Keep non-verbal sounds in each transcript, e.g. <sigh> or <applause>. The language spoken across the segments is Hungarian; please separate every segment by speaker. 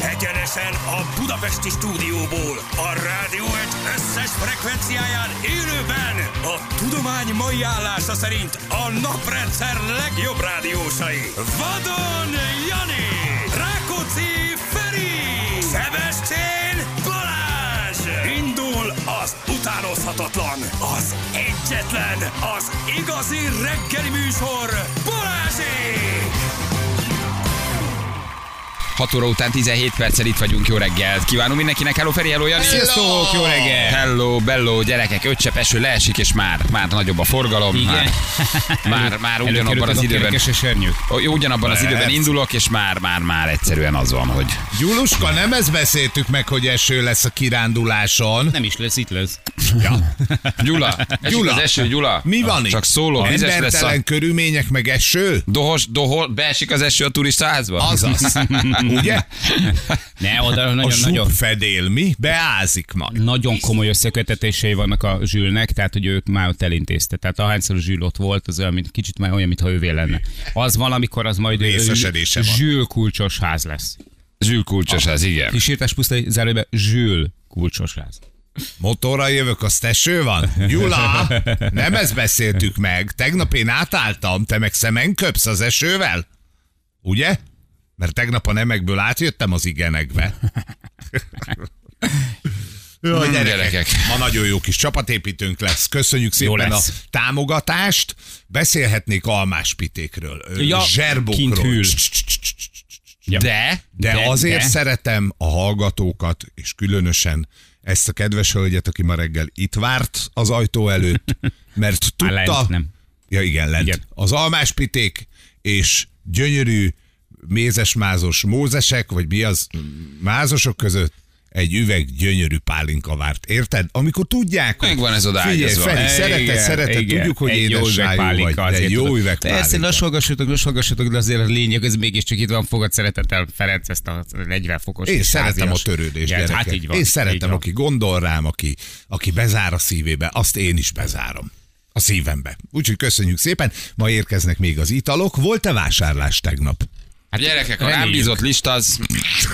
Speaker 1: Élőben a Budapesti stúdióból a rádió egy összes frekvenciáján élőben a tudomány mai állása szerint a naprendszer legjobb rádiósai. Vadon Jani, Rákóczi Feri, Szebestén Balázs! Indul az utánozhatatlan, az egyetlen, az igazi reggeli műsor Balázsék!
Speaker 2: 6 óra után 17 perccel itt vagyunk, jó reggelt. Kívánom mindenkinek, hello Feri, hello Jani.
Speaker 3: Sziasztok, jó reggel!
Speaker 2: Hello, bello, gyerekek, öt csepp eső leesik, és már, már nagyobb a forgalom.
Speaker 3: Igen.
Speaker 2: Már,
Speaker 3: <laughs>
Speaker 2: már, már ugyanabban
Speaker 3: Előkerült
Speaker 2: az
Speaker 3: a
Speaker 2: időben.
Speaker 3: kerekes esernyők.
Speaker 2: Ó, jó, Ugyanabban az
Speaker 3: Persze.
Speaker 2: időben indulok, és már, már, már egyszerűen az van, hogy
Speaker 4: Gyuluska, nem ezt beszéltük meg, hogy eső lesz a kiránduláson.
Speaker 3: Nem is lesz, itt lesz.
Speaker 4: Ja.
Speaker 3: <laughs>
Speaker 2: Gyula, Gyula.
Speaker 4: Gyula.
Speaker 2: az eső, Gyula.
Speaker 4: Mi van itt?
Speaker 2: Csak szóló, vizes lesz a
Speaker 4: Embertelen körülmények meg eső?
Speaker 2: dohos, dohol, beesik az eső a turista házba? <laughs>
Speaker 4: Azaz. Ugye?
Speaker 3: Ne, oda
Speaker 4: A
Speaker 3: nagyon-nagyon
Speaker 4: zsubfedél mi? Beázik majd.
Speaker 3: nagyon komoly összekötetései vannak a zsülnek, tehát hogy ők már ott elintézte. Tehát ahányszor a zsűl ott volt, az olyan, mint, kicsit már olyan, mintha ővé lenne. Az valamikor az majd
Speaker 4: Részesedése van.
Speaker 3: zsűl kulcsos ház lesz.
Speaker 2: Zsülkulcsos az, igen.
Speaker 3: Kísírtás pusztai zárójelbe zsűl kulcsos ház.
Speaker 4: Motorral jövök, azt eső van? Gyula, nem ezt beszéltük meg. Tegnap én átálltam, te meg szemen köpsz az esővel? Ugye? Mert tegnap a nemekből átjöttem az
Speaker 3: <laughs>
Speaker 4: igenekbe. Jó,
Speaker 2: Hmm,
Speaker 4: gyerekek.
Speaker 2: gyerekek.
Speaker 4: Ma nagyon jó kis csapatépítőnk lesz. Köszönjük szépen a
Speaker 3: lesz.
Speaker 4: támogatást. Beszélhetnék almáspitékről, ö,
Speaker 3: Ja, kint
Speaker 4: zserbokról.
Speaker 3: hűl.
Speaker 2: De, de,
Speaker 4: De, de azért
Speaker 3: de.
Speaker 4: de. szeretem a hallgatókat, és különösen ezt a kedves hölgyet, aki ma reggel itt várt az ajtó
Speaker 3: <laughs>
Speaker 4: előtt, mert
Speaker 3: Már
Speaker 4: tudta...
Speaker 3: lent, nem.
Speaker 4: Ja, igen, lent.
Speaker 3: Igen.
Speaker 4: Igen. Az almáspiték és gyönyörű mézesmázos mózesek, vagy mi az mázosok között egy üveg gyönyörű pálinka várt. Érted? Amikor tudják, hogy-
Speaker 2: Megvan ez oda
Speaker 4: Figyelj,
Speaker 2: ágyazva.
Speaker 4: Feri,
Speaker 3: Igen,
Speaker 4: szereted, szereted,
Speaker 3: igen.
Speaker 4: tudjuk, hogy
Speaker 3: Egy jó
Speaker 4: édes
Speaker 3: üveg
Speaker 4: rájú vagy,
Speaker 3: pálinka
Speaker 4: de
Speaker 3: azért
Speaker 4: jó
Speaker 3: tudod.
Speaker 4: üveg
Speaker 3: Persze,
Speaker 4: pálinka.
Speaker 3: lassolgassatok, lassolgassatok, de azért a lényeg, ez mégiscsak itt van, fogad szeretettel Ferenc ezt a 40 fokos
Speaker 4: Én
Speaker 3: kis
Speaker 4: szeretem a
Speaker 3: házias-
Speaker 4: törődést,
Speaker 3: Igen,
Speaker 4: gyerekek.
Speaker 3: Hát így van.
Speaker 4: én
Speaker 3: így
Speaker 4: szeretem,
Speaker 3: van.
Speaker 4: aki gondol rám, aki, aki bezár a szívébe, azt én is bezárom a szívembe. Úgyhogy köszönjük szépen, ma érkeznek még az italok. Volt-e vásárlás tegnap?
Speaker 2: Hát gyerekek, a
Speaker 3: Reméljük.
Speaker 2: rám bízott lista az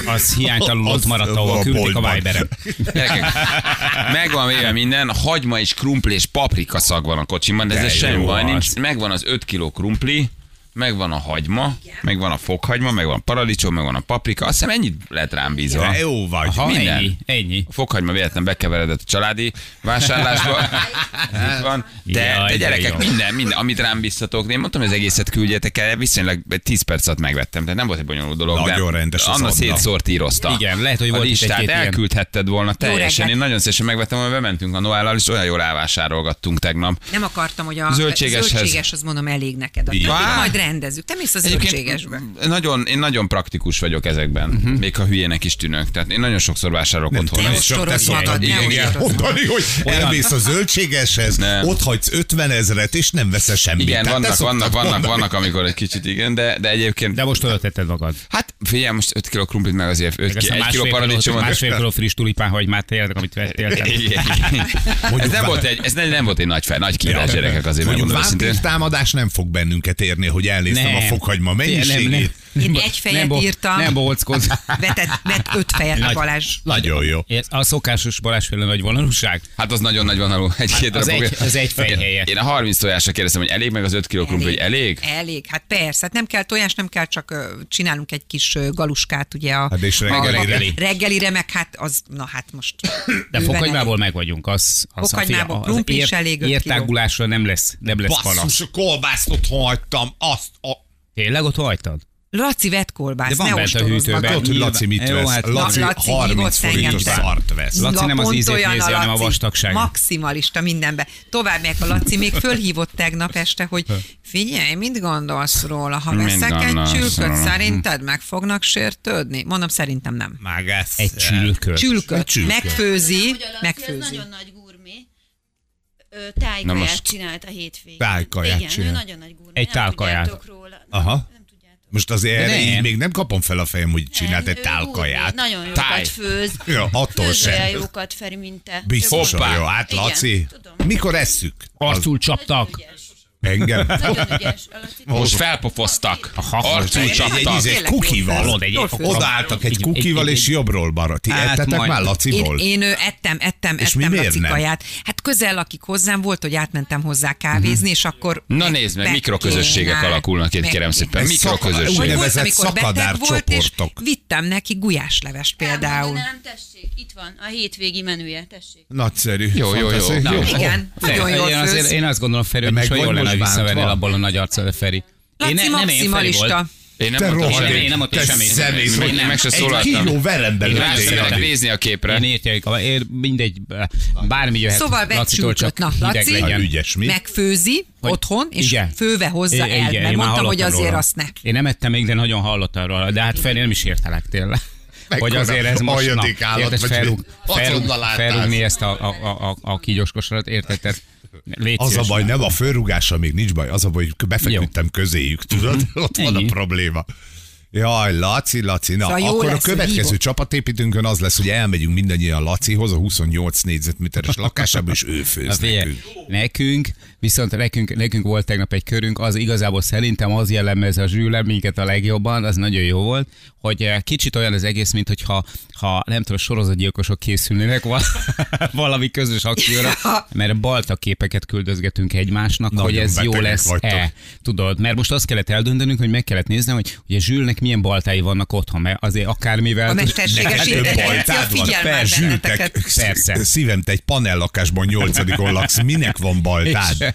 Speaker 3: Az hiánytalanul ott
Speaker 4: Az
Speaker 3: maradt, ahol
Speaker 4: a
Speaker 3: küldték a
Speaker 4: boltban. <laughs>
Speaker 3: Viberem.
Speaker 2: Gyerekek, megvan véve minden, hagyma és krumpli és paprika szag van a kocsimban, de,
Speaker 4: De
Speaker 2: ez
Speaker 4: jó
Speaker 2: semmi baj
Speaker 4: az.
Speaker 2: nincs. Megvan az 5 kiló krumpli, megvan a hagyma, megvan a fokhagyma, megvan a paradicsom, megvan a paprika. Azt hiszem ennyit lett rám bízva.
Speaker 4: De jó vagy.
Speaker 3: Ha,
Speaker 2: Minden.
Speaker 3: ennyi, ennyi.
Speaker 2: A fokhagyma véletlen bekeveredett a családi
Speaker 3: <laughs>
Speaker 2: vásárlásba. Itt van. De,
Speaker 3: Jaj,
Speaker 2: de
Speaker 3: de
Speaker 2: gyerekek,
Speaker 3: jó.
Speaker 2: minden, minden, amit rám biztatok, én mondtam, hogy az egészet küldjetek el, viszonylag 10 perc alatt megvettem, tehát nem volt egy bonyolult dolog.
Speaker 4: Nagyon
Speaker 2: de
Speaker 4: rendes az
Speaker 2: Anna
Speaker 4: Anna.
Speaker 2: szétszortírozta.
Speaker 3: Igen, lehet, hogy
Speaker 2: a
Speaker 3: volt itt
Speaker 2: listát
Speaker 3: egy-két ilyen.
Speaker 2: elküldhetted volna teljesen.
Speaker 5: reggelt.
Speaker 2: Én nagyon szívesen megvettem, mert bementünk a Noállal, és olyan jól elvásárolgattunk tegnap.
Speaker 5: Nem akartam, hogy a
Speaker 2: Zöldségeshez.
Speaker 5: zöldséges, az mondom, elég neked.
Speaker 2: Így
Speaker 5: Addig
Speaker 2: van.
Speaker 5: majd rendezzük. Te mész a zöldségesbe.
Speaker 2: nagyon, én nagyon praktikus vagyok ezekben,
Speaker 3: Mhm.
Speaker 2: uh-huh. még ha hülyének is tűnök. Tehát én nagyon sokszor vásárolok otthon.
Speaker 5: te
Speaker 4: nem
Speaker 5: ott sorolj magad, ne
Speaker 4: igen,
Speaker 5: ott
Speaker 4: igen.
Speaker 5: sorolj
Speaker 4: mondani, hogy elmész a zöldségeshez,
Speaker 2: Nem.
Speaker 4: ott hagysz 50 ezeret, és nem veszel semmit.
Speaker 2: Igen,
Speaker 4: Tehát te
Speaker 2: vannak, vannak,
Speaker 4: szoktad
Speaker 2: vannak,
Speaker 4: mondani.
Speaker 2: vannak, amikor egy kicsit igen, de, de egyébként...
Speaker 3: De most oda tetted magad.
Speaker 2: Hát figyelj, most 5 kg krumplit meg azért, 5
Speaker 3: Meg
Speaker 2: ki,
Speaker 3: aztán
Speaker 2: 1 kg paradicsomot.
Speaker 3: másfél kiló friss tulipán hagymát tényleg, amit vettél.
Speaker 2: Igen,
Speaker 3: tehát-
Speaker 2: igen. ez, nem
Speaker 4: vá-
Speaker 2: volt egy, ez nem, nem volt egy nagy fel, nagy kívás
Speaker 4: Ja.
Speaker 2: gyerekek azért,
Speaker 4: Mondjuk
Speaker 2: megmondom őszintén.
Speaker 4: vámpír támadás nem fog bennünket érni, hogy elnéztem a fokhagyma mennyiségét.
Speaker 5: Én
Speaker 3: bo-
Speaker 5: egy fejet
Speaker 3: nem bo-
Speaker 5: írtam.
Speaker 3: Nem bolckoz.
Speaker 5: Vetett, vett öt fejet a
Speaker 3: Nagy-
Speaker 5: Balázs.
Speaker 4: Nagyon jó.
Speaker 3: Ez a szokásos Balázsféle nagy vonalúság.
Speaker 2: Hát az nagyon nagy vonalú. Egy-két
Speaker 3: az
Speaker 2: darab
Speaker 3: egy-
Speaker 2: fogja.
Speaker 3: az egy fej
Speaker 2: Én-
Speaker 3: helye.
Speaker 2: Én a 30 tojásra kérdeztem, hogy elég meg az 5 kg krumpli, hogy elég?
Speaker 5: Elég, hát persze, hát nem kell tojás, nem kell, csak ö, csinálunk egy kis ö, galuskát, ugye a,
Speaker 4: Hát és
Speaker 5: a-
Speaker 4: reggelire.
Speaker 5: a- reggelire, meg hát az, na hát most.
Speaker 3: De
Speaker 5: bőven
Speaker 3: fokhagymából
Speaker 5: elég.
Speaker 3: meg vagyunk. Az, az
Speaker 5: Fokhagymából
Speaker 3: a- az
Speaker 5: krumpli
Speaker 3: ér-
Speaker 5: is elég öt kiló.
Speaker 3: Értágulásra nem lesz, nem lesz panasz.
Speaker 4: Basszus, a kolbászt otthon hagytam, azt a...
Speaker 3: Tényleg ott hagytad?
Speaker 5: Laci vett
Speaker 3: De
Speaker 5: kolbászt,
Speaker 3: van
Speaker 5: ne
Speaker 3: bent a
Speaker 5: ostorozd
Speaker 3: hűtőben.
Speaker 5: magad.
Speaker 4: Tudod, hogy
Speaker 3: Nyilván-
Speaker 4: Laci mit
Speaker 3: Jó,
Speaker 4: vesz?
Speaker 3: hát-
Speaker 4: Laci,
Speaker 5: Na, Laci
Speaker 4: 30
Speaker 5: hívott
Speaker 4: forintos
Speaker 5: engem.
Speaker 4: szart vesz.
Speaker 3: Laci nem az
Speaker 5: pont
Speaker 3: ízét
Speaker 5: olyan
Speaker 3: nézi, hanem a
Speaker 5: Laci.
Speaker 3: vastagság.
Speaker 5: Maximalista mindenben. Tovább megyek a Laci, még fölhívott tegnap este, hogy figyelj, mit gondolsz róla, ha
Speaker 2: Mit
Speaker 5: veszek egy
Speaker 2: gondolsz
Speaker 5: csülköt,
Speaker 2: róla?
Speaker 5: szerinted meg fognak sértődni? Mondom, szerintem nem.
Speaker 4: Mágász.
Speaker 3: Egy csülkör.
Speaker 5: Csülköt,
Speaker 4: csülköt.
Speaker 5: megfőzi,
Speaker 6: Hogy a Laci az
Speaker 5: megfőzi.
Speaker 6: nagyon nagy gurmé. Ö,
Speaker 2: Na
Speaker 6: Tájkaját
Speaker 2: most-
Speaker 6: most... csinált a hétvégén.
Speaker 4: Tájkaját
Speaker 6: Igen,
Speaker 4: csinált.
Speaker 6: ő nagyon nagy gurmé.
Speaker 3: Egy
Speaker 6: nem
Speaker 3: tálkaját.
Speaker 6: tudjátok Róla.
Speaker 4: Aha.
Speaker 6: Nem tudjátok.
Speaker 4: Most azért erre
Speaker 3: nem.
Speaker 4: így még nem kapom fel a fejem, hogy csinált egy
Speaker 6: Ő
Speaker 4: tálkaját.
Speaker 6: gurmé, Nagyon jókat
Speaker 2: Táj.
Speaker 6: főz.
Speaker 4: <laughs> Ja, attól
Speaker 6: Főz olyan
Speaker 4: sem.
Speaker 6: jókat, Feri, mint te.
Speaker 4: Biztos,
Speaker 2: Hoppá.
Speaker 4: hogy jó. Hát,
Speaker 6: Igen,
Speaker 4: Laci,
Speaker 6: tudom.
Speaker 4: mikor esszük?
Speaker 3: Arcul csaptak.
Speaker 6: Ügyes.
Speaker 4: Engem?
Speaker 6: Nagyon ügyes. A Laci-
Speaker 2: Most felpofoztak. Arcul
Speaker 4: Egy, egy,
Speaker 2: csaptak.
Speaker 4: egy, egy kukival.
Speaker 5: Tudod, egy ilyen fokra-
Speaker 4: <laughs> Odaálltak egy kukival, és jobbról balra. Ti
Speaker 3: Hát
Speaker 4: ettetek
Speaker 3: majd.
Speaker 4: már Laciból?
Speaker 5: Én, én ö, ettem, ettem,
Speaker 4: És mi
Speaker 5: ettem
Speaker 4: miért nem?
Speaker 5: lacikaját. Hát közel lakik hozzám, volt, hogy átmentem hozzá kávézni, és akkor...
Speaker 2: Na nézd meg, mikroközösségek
Speaker 5: megkínált.
Speaker 2: alakulnak itt, kérem szépen.
Speaker 4: Ez szaka-
Speaker 5: Hogy
Speaker 2: Mikroközösségek.
Speaker 4: Ugye-
Speaker 5: volt,
Speaker 4: Úgynevezett
Speaker 5: amikor beteg volt, és
Speaker 4: szakadárcsoportok.
Speaker 5: vittem neki gulyáslevest például.
Speaker 6: Elmondanám, tessék, itt van a hétvégi menüje, tessék.
Speaker 4: Nagyszerű.
Speaker 2: Jó, jó, jó.
Speaker 4: Fantasztikus.
Speaker 2: Na,
Speaker 5: Igen, nagyon
Speaker 3: Én,
Speaker 5: jól
Speaker 3: én, azért,
Speaker 5: főz.
Speaker 3: én azt gondolom, Feri,
Speaker 4: meg
Speaker 3: hogy
Speaker 4: vagy
Speaker 3: jól lenne,
Speaker 4: most
Speaker 3: hogy visszavernél
Speaker 4: bántva?
Speaker 3: abból a nagy arccal, Feri.
Speaker 5: Laci
Speaker 3: én, nem én, Feri volt.
Speaker 5: maximalista.
Speaker 2: Én
Speaker 4: Te
Speaker 2: nem mondtam
Speaker 4: rohadt
Speaker 2: semmit.
Speaker 4: ég,
Speaker 3: Én nem adtam
Speaker 4: te
Speaker 3: semmit.
Speaker 4: zenész
Speaker 3: Én
Speaker 4: vagy.
Speaker 2: Én meg se
Speaker 4: Egy
Speaker 2: szólaltam.
Speaker 4: kiló verembe
Speaker 2: Én rá
Speaker 4: lőttél,
Speaker 2: szeretek
Speaker 4: Jani.
Speaker 2: nézni a
Speaker 3: Én
Speaker 2: képre.
Speaker 3: értjük, én mindegy, eh, bármi jöhet.
Speaker 5: Szóval
Speaker 3: Lacitól csak
Speaker 5: becsültött. Na,
Speaker 3: hideg
Speaker 5: Laci,
Speaker 4: Na,
Speaker 3: legyen.
Speaker 4: ügyes, mi?
Speaker 5: megfőzi
Speaker 3: Hogy-
Speaker 5: otthon, és
Speaker 3: Igen.
Speaker 5: főve hozza
Speaker 3: I-
Speaker 5: el,
Speaker 3: igen,
Speaker 5: mert
Speaker 3: én már
Speaker 5: mondtam, hogy
Speaker 3: hallottam
Speaker 5: azért
Speaker 3: róla.
Speaker 5: azt ne.
Speaker 3: Én nem ettem még, de nagyon hallottam róla, de hát Feri, nem is értelek tényleg. Hogy
Speaker 4: Mekkora
Speaker 3: azért ez most, na,
Speaker 4: aljadik állat
Speaker 3: érted,
Speaker 4: vagy,
Speaker 3: felrúg,
Speaker 4: hogy
Speaker 3: felrúg,
Speaker 4: aconnal álltál.
Speaker 3: felrúgni ezt a, a, a, a, a kígyós kosarat, érted? Tehát légy
Speaker 4: Az a
Speaker 3: szíves.
Speaker 4: baj, nem a fölrugása még nincs baj, az a baj, hogy befeküdtem közéjük, tudod? Ott van a
Speaker 3: Mhm. Ennyi.
Speaker 4: probléma. Jaj, Laci, Laci, na,
Speaker 5: Szóval jó
Speaker 4: akkor a
Speaker 5: lesz,
Speaker 4: következő
Speaker 5: hívott.
Speaker 4: csapatépítőnkön az lesz, hogy elmegyünk mindannyian Lacihoz, a 28 négyzetméteres lakásába, és ő főz
Speaker 3: Na, figyelj,
Speaker 4: nekünk.
Speaker 3: nekünk, viszont nekünk, nekünk volt tegnap egy körünk, az igazából szerintem az jellemez a zsűle minket a legjobban, az nagyon jó volt, hogy eh, kicsit olyan az egész, mint hogyha ha nem tudom, sorozatgyilkosok készülnének val- <laughs> valami közös akcióra, mert balta képeket küldözgetünk egymásnak,
Speaker 4: Nagyon
Speaker 3: hogy ez jó
Speaker 4: betegek
Speaker 3: lesz-e.
Speaker 4: vagytok.
Speaker 3: Tudod, mert most azt kellett eldöntenünk, hogy meg kellett néznem, hogy ugye Zsülnek milyen baltái vannak otthon, mert azért akármivel...
Speaker 5: A mesterséges
Speaker 3: <laughs>
Speaker 4: Neked több
Speaker 5: intelligencia
Speaker 4: baltád van.
Speaker 5: figyel már
Speaker 4: Persze,
Speaker 5: benneteket.
Speaker 4: Zsültek,
Speaker 3: Persze.
Speaker 4: Szívem, te egy panellakásban nyolcadikon laksz, minek van baltád?
Speaker 3: És-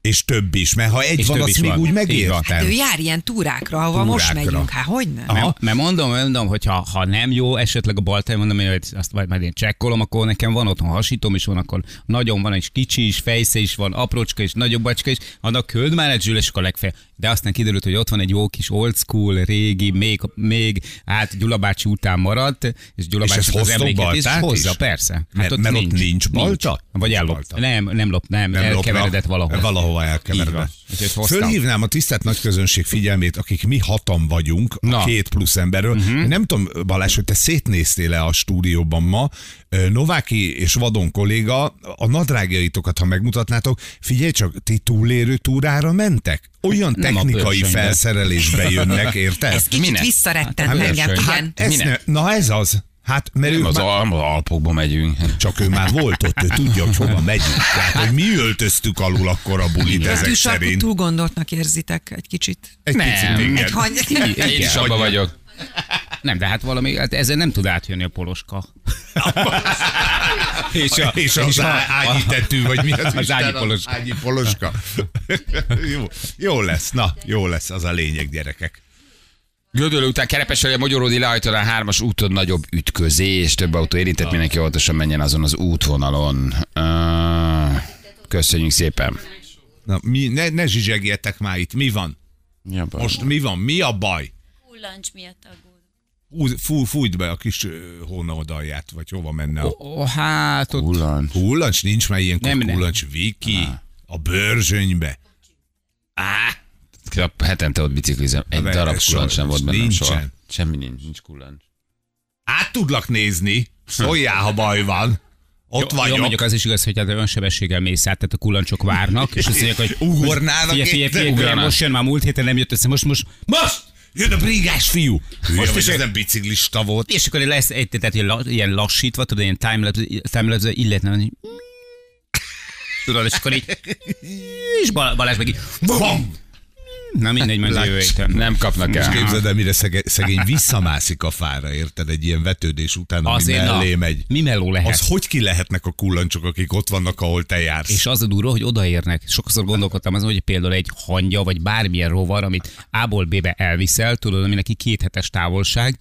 Speaker 4: És több is, mert ha egy
Speaker 3: És
Speaker 4: van,
Speaker 3: több
Speaker 4: azt
Speaker 3: is
Speaker 4: még
Speaker 3: van.
Speaker 4: úgy
Speaker 3: Így van.
Speaker 5: Hát ő
Speaker 4: megértem.
Speaker 5: jár ilyen túrákra, ahova most
Speaker 4: Túrákra.
Speaker 5: megyünk, hát hogy nem?
Speaker 3: Aha. Mert mondom, mondom, hogy ha, ha nem jó, esetleg a baltáj, mondom, én, hogy azt majd, majd én csekkolom, akkor nekem van otthon hasítom is van, akkor nagyon van, és kicsi is, fejsze is van, aprócska is, nagyobb bacska is, annak köld már egy zsüles, akkor legfeljebb. De aztán kiderült, hogy ott van egy jó kis old school, régi, még, még hát Gyula bácsi után maradt, és Gyula
Speaker 4: És ez
Speaker 3: bácsi az
Speaker 4: hoztok
Speaker 3: emléket is
Speaker 4: baltát
Speaker 3: hozza,
Speaker 4: is?
Speaker 3: persze. Hát
Speaker 4: Mert- mert ott nincs balta?
Speaker 3: Vagy
Speaker 4: Nincs
Speaker 3: ellop.
Speaker 4: balta.
Speaker 3: Nem, nem lop, nem, nem
Speaker 4: lopnak.
Speaker 3: elkeveredett valahol.
Speaker 4: Valahova
Speaker 3: Így van.
Speaker 4: elkeveredett.
Speaker 3: Úgyhogy hoztam.
Speaker 4: Fölhívnám a tisztelt nagy közönség figyelmét, akik mi hatan vagyunk,
Speaker 3: Na. Mhm.
Speaker 4: a két plusz emberről. Uh-huh. Nem tudom, Balázs, hogy te szétnéztél-e a stúdióban ma. Ö, Nováki és Vadon kolléga, a nadrágjaitokat, ha megmutatnátok, figyelj csak, ti túlélő túrára mentek? Olyan
Speaker 3: Nem a
Speaker 4: technikai
Speaker 3: bőrsönybe.
Speaker 4: felszerelésbe jönnek, érted?
Speaker 5: Ez kicsit
Speaker 2: minek?
Speaker 5: visszarettent
Speaker 4: Hát,
Speaker 5: engem,
Speaker 3: verseny.
Speaker 5: igen.
Speaker 4: Ez ne,
Speaker 2: Minek?
Speaker 4: na ez az. Hát, mert ők
Speaker 2: Az
Speaker 4: már-
Speaker 2: Al- Alpokba megyünk.
Speaker 4: csak ő már volt ott, ő tudja, hogy hova megyünk. Tehát, hogy mi
Speaker 3: <laughs>
Speaker 4: öltöztük alul akkor a bulit
Speaker 5: A
Speaker 4: ezek
Speaker 5: tűsarkot
Speaker 4: szerint. Hát
Speaker 5: túl gondoltnak érzitek egy kicsit.
Speaker 4: Egy
Speaker 2: Nem.
Speaker 4: picit, igen. <laughs>
Speaker 5: Egy hany...
Speaker 2: Én is abba vagyok.
Speaker 3: Nem, de hát valami, hát ezzel nem tud átjönni a poloska.
Speaker 2: <laughs>
Speaker 4: És, a, és az és ágyi tetű, vagy mi az, Isten,
Speaker 3: ágyi poloska.
Speaker 4: ágyi poloska. jó, jó lesz, na, jó lesz, az a lényeg, gyerekek.
Speaker 2: Gödöllő után Kerepesre, Magyaródi lehajtóan hármas úton nagyobb ütközés, több autó érintett, mindenki óvatosan menjen azon az útvonalon. Ö, Köszönjük szépen.
Speaker 4: Na, mi, ne, ne zsizsegjetek már itt, mi van? Most mi van? Mi a baj?
Speaker 6: Kullancs miatt aggódom.
Speaker 4: Hú, fú, fújt be a kis ö, hónoldallját, vagy hova menne a
Speaker 3: Oh, hát ott
Speaker 2: Hullan.
Speaker 4: kullancs, nincs már ilyenkor
Speaker 3: Nem,
Speaker 4: nem,
Speaker 3: nem.
Speaker 4: kullancs, Viki, a bőrzsönybe.
Speaker 2: Hetente ott biciklizem. Egy
Speaker 4: Na,
Speaker 2: darab
Speaker 4: soha,
Speaker 2: kullancs nem volt bennem
Speaker 4: nincsen.
Speaker 2: soha. Semmi nincs, nincs kullancs.
Speaker 4: Át tudlak nézni, szóljál, ha baj van. Ott
Speaker 3: Jó,
Speaker 4: vagyok.
Speaker 3: mondjuk az is igaz, hogy hát olyan sebességgel mész át, tehát a kullancsok várnak, és azt mondják, hogy
Speaker 4: Ugornának
Speaker 3: figyelj, figyelj, figyelj, figyelj,
Speaker 2: ugranak.
Speaker 3: most jön, már múlt héten nem jött össze, most, most, most!
Speaker 4: Jön a brigás fiú. Hülye
Speaker 3: Most
Speaker 4: Most vagy,
Speaker 3: is
Speaker 4: ez
Speaker 3: egy-
Speaker 4: nem biciklista volt.
Speaker 3: És akkor lesz egy, tehát ilyen la- ilyen lassítva, tudod, ilyen timelapse, timelapse illetlen, hogy tudod, és akkor így, és Bal- Balázs meg így,
Speaker 4: Bam!
Speaker 3: na mindegy, majd jövő héten.
Speaker 2: Nem kapnak
Speaker 4: És
Speaker 2: el.
Speaker 4: képzeld el, mire szege- szegény visszamászik a fára, érted? Egy ilyen vetődés után, ami
Speaker 3: Azért, na,
Speaker 4: mellé megy.
Speaker 3: mi meló lehet?
Speaker 4: Az hogy ki lehetnek a kullancsok, akik ott vannak, ahol te jársz?
Speaker 3: És az a durva, hogy odaérnek. Sokszor gondolkodtam azon, hogy például egy hangya, vagy bármilyen rovar, amit A-ból B-be elviszel, tudod, ami neki két hetes távolság,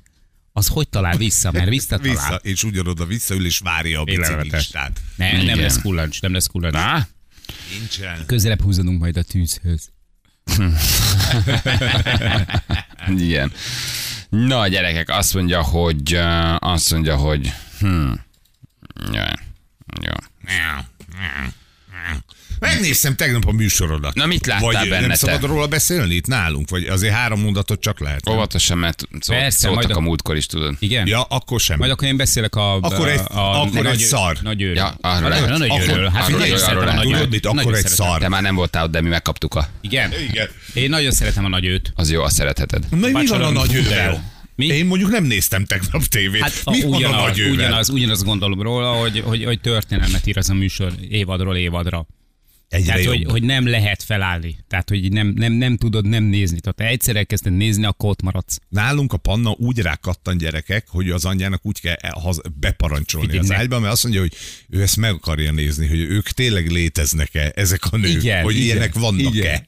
Speaker 3: az hogy talál vissza, mert visszatalál.
Speaker 4: vissza, és ugyanoda visszaül, és várja a
Speaker 3: Életletes.
Speaker 4: biciklistát.
Speaker 3: Ne, nem
Speaker 2: Igen.
Speaker 3: lesz kullancs, nem lesz kullancs.
Speaker 2: Na?
Speaker 4: Nincsen.
Speaker 3: Közelebb húzódunk majd a tűzhöz.
Speaker 2: Hát, Igen. Na, gyerekek, azt mondja, hogy... ö, Azt mondja, hogy... Hm. Jaj. Jó.
Speaker 4: Megnéztem tegnap a műsorodat.
Speaker 2: Na, mit láttál
Speaker 4: vagy
Speaker 2: benne
Speaker 4: nem
Speaker 2: te?
Speaker 4: szabad róla beszélni itt nálunk? Vagy azért három mondatot csak lehet?
Speaker 2: Óvatosan, mert szó,
Speaker 3: Persze,
Speaker 2: szóltak
Speaker 3: majd
Speaker 2: a...
Speaker 3: a-
Speaker 2: múltkor is, tudod.
Speaker 3: Igen?
Speaker 4: Ja, akkor sem.
Speaker 3: Majd akkor én beszélek a...
Speaker 4: Akkor egy-
Speaker 3: a,
Speaker 4: akkor egy
Speaker 3: nagy,
Speaker 4: szar.
Speaker 3: Nagy őr.
Speaker 2: Ja, arra
Speaker 3: a,
Speaker 2: lehet.
Speaker 3: a nagy őrről.
Speaker 2: Akkor-
Speaker 3: Hát
Speaker 2: arról
Speaker 3: én nagyon
Speaker 2: lehet,
Speaker 3: szeretem a
Speaker 2: arról
Speaker 3: nagy
Speaker 2: lehet.
Speaker 4: Tudod
Speaker 3: őrt.
Speaker 4: mit? Akkor
Speaker 3: Nagyon
Speaker 4: egy
Speaker 3: szeretem.
Speaker 4: szar.
Speaker 2: Te már nem voltál ott, de mi megkaptuk a...
Speaker 3: Igen?
Speaker 4: Igen.
Speaker 3: Én nagyon szeretem a nagy őt.
Speaker 2: Az jó, azt
Speaker 3: <laughs>
Speaker 2: szeretheted.
Speaker 4: Na, mi van a
Speaker 3: Bacsorom,
Speaker 4: nagy
Speaker 3: fú, de jó.
Speaker 4: ővel?
Speaker 3: Mi?
Speaker 4: Én mondjuk nem néztem tegnap tévét.
Speaker 3: Hát a,
Speaker 4: mi van a
Speaker 3: ugyanaz,
Speaker 4: nagy ővel?
Speaker 3: ugyanaz, ugyanaz gondolom róla, hogy, hogy, hogy történelmet ír az a műsor évadról évadra.
Speaker 4: Egyre
Speaker 3: Tehát,
Speaker 4: jobb.
Speaker 3: hogy, hogy, nem lehet felállni. Tehát, hogy nem, nem, nem tudod nem nézni. Tehát, ha egyszer elkezded nézni, akkor ott maradsz.
Speaker 4: Nálunk a panna úgy rákattan gyerekek, hogy az anyjának úgy kell el- haz- beparancsolni
Speaker 3: Figyelj,
Speaker 4: az
Speaker 3: ne.
Speaker 4: ágyba, mert azt mondja, hogy ő ezt meg akarja nézni, hogy ők tényleg léteznek-e ezek a nők,
Speaker 3: Igen,
Speaker 4: hogy
Speaker 3: igen,
Speaker 4: ilyenek vannak-e.
Speaker 3: igen.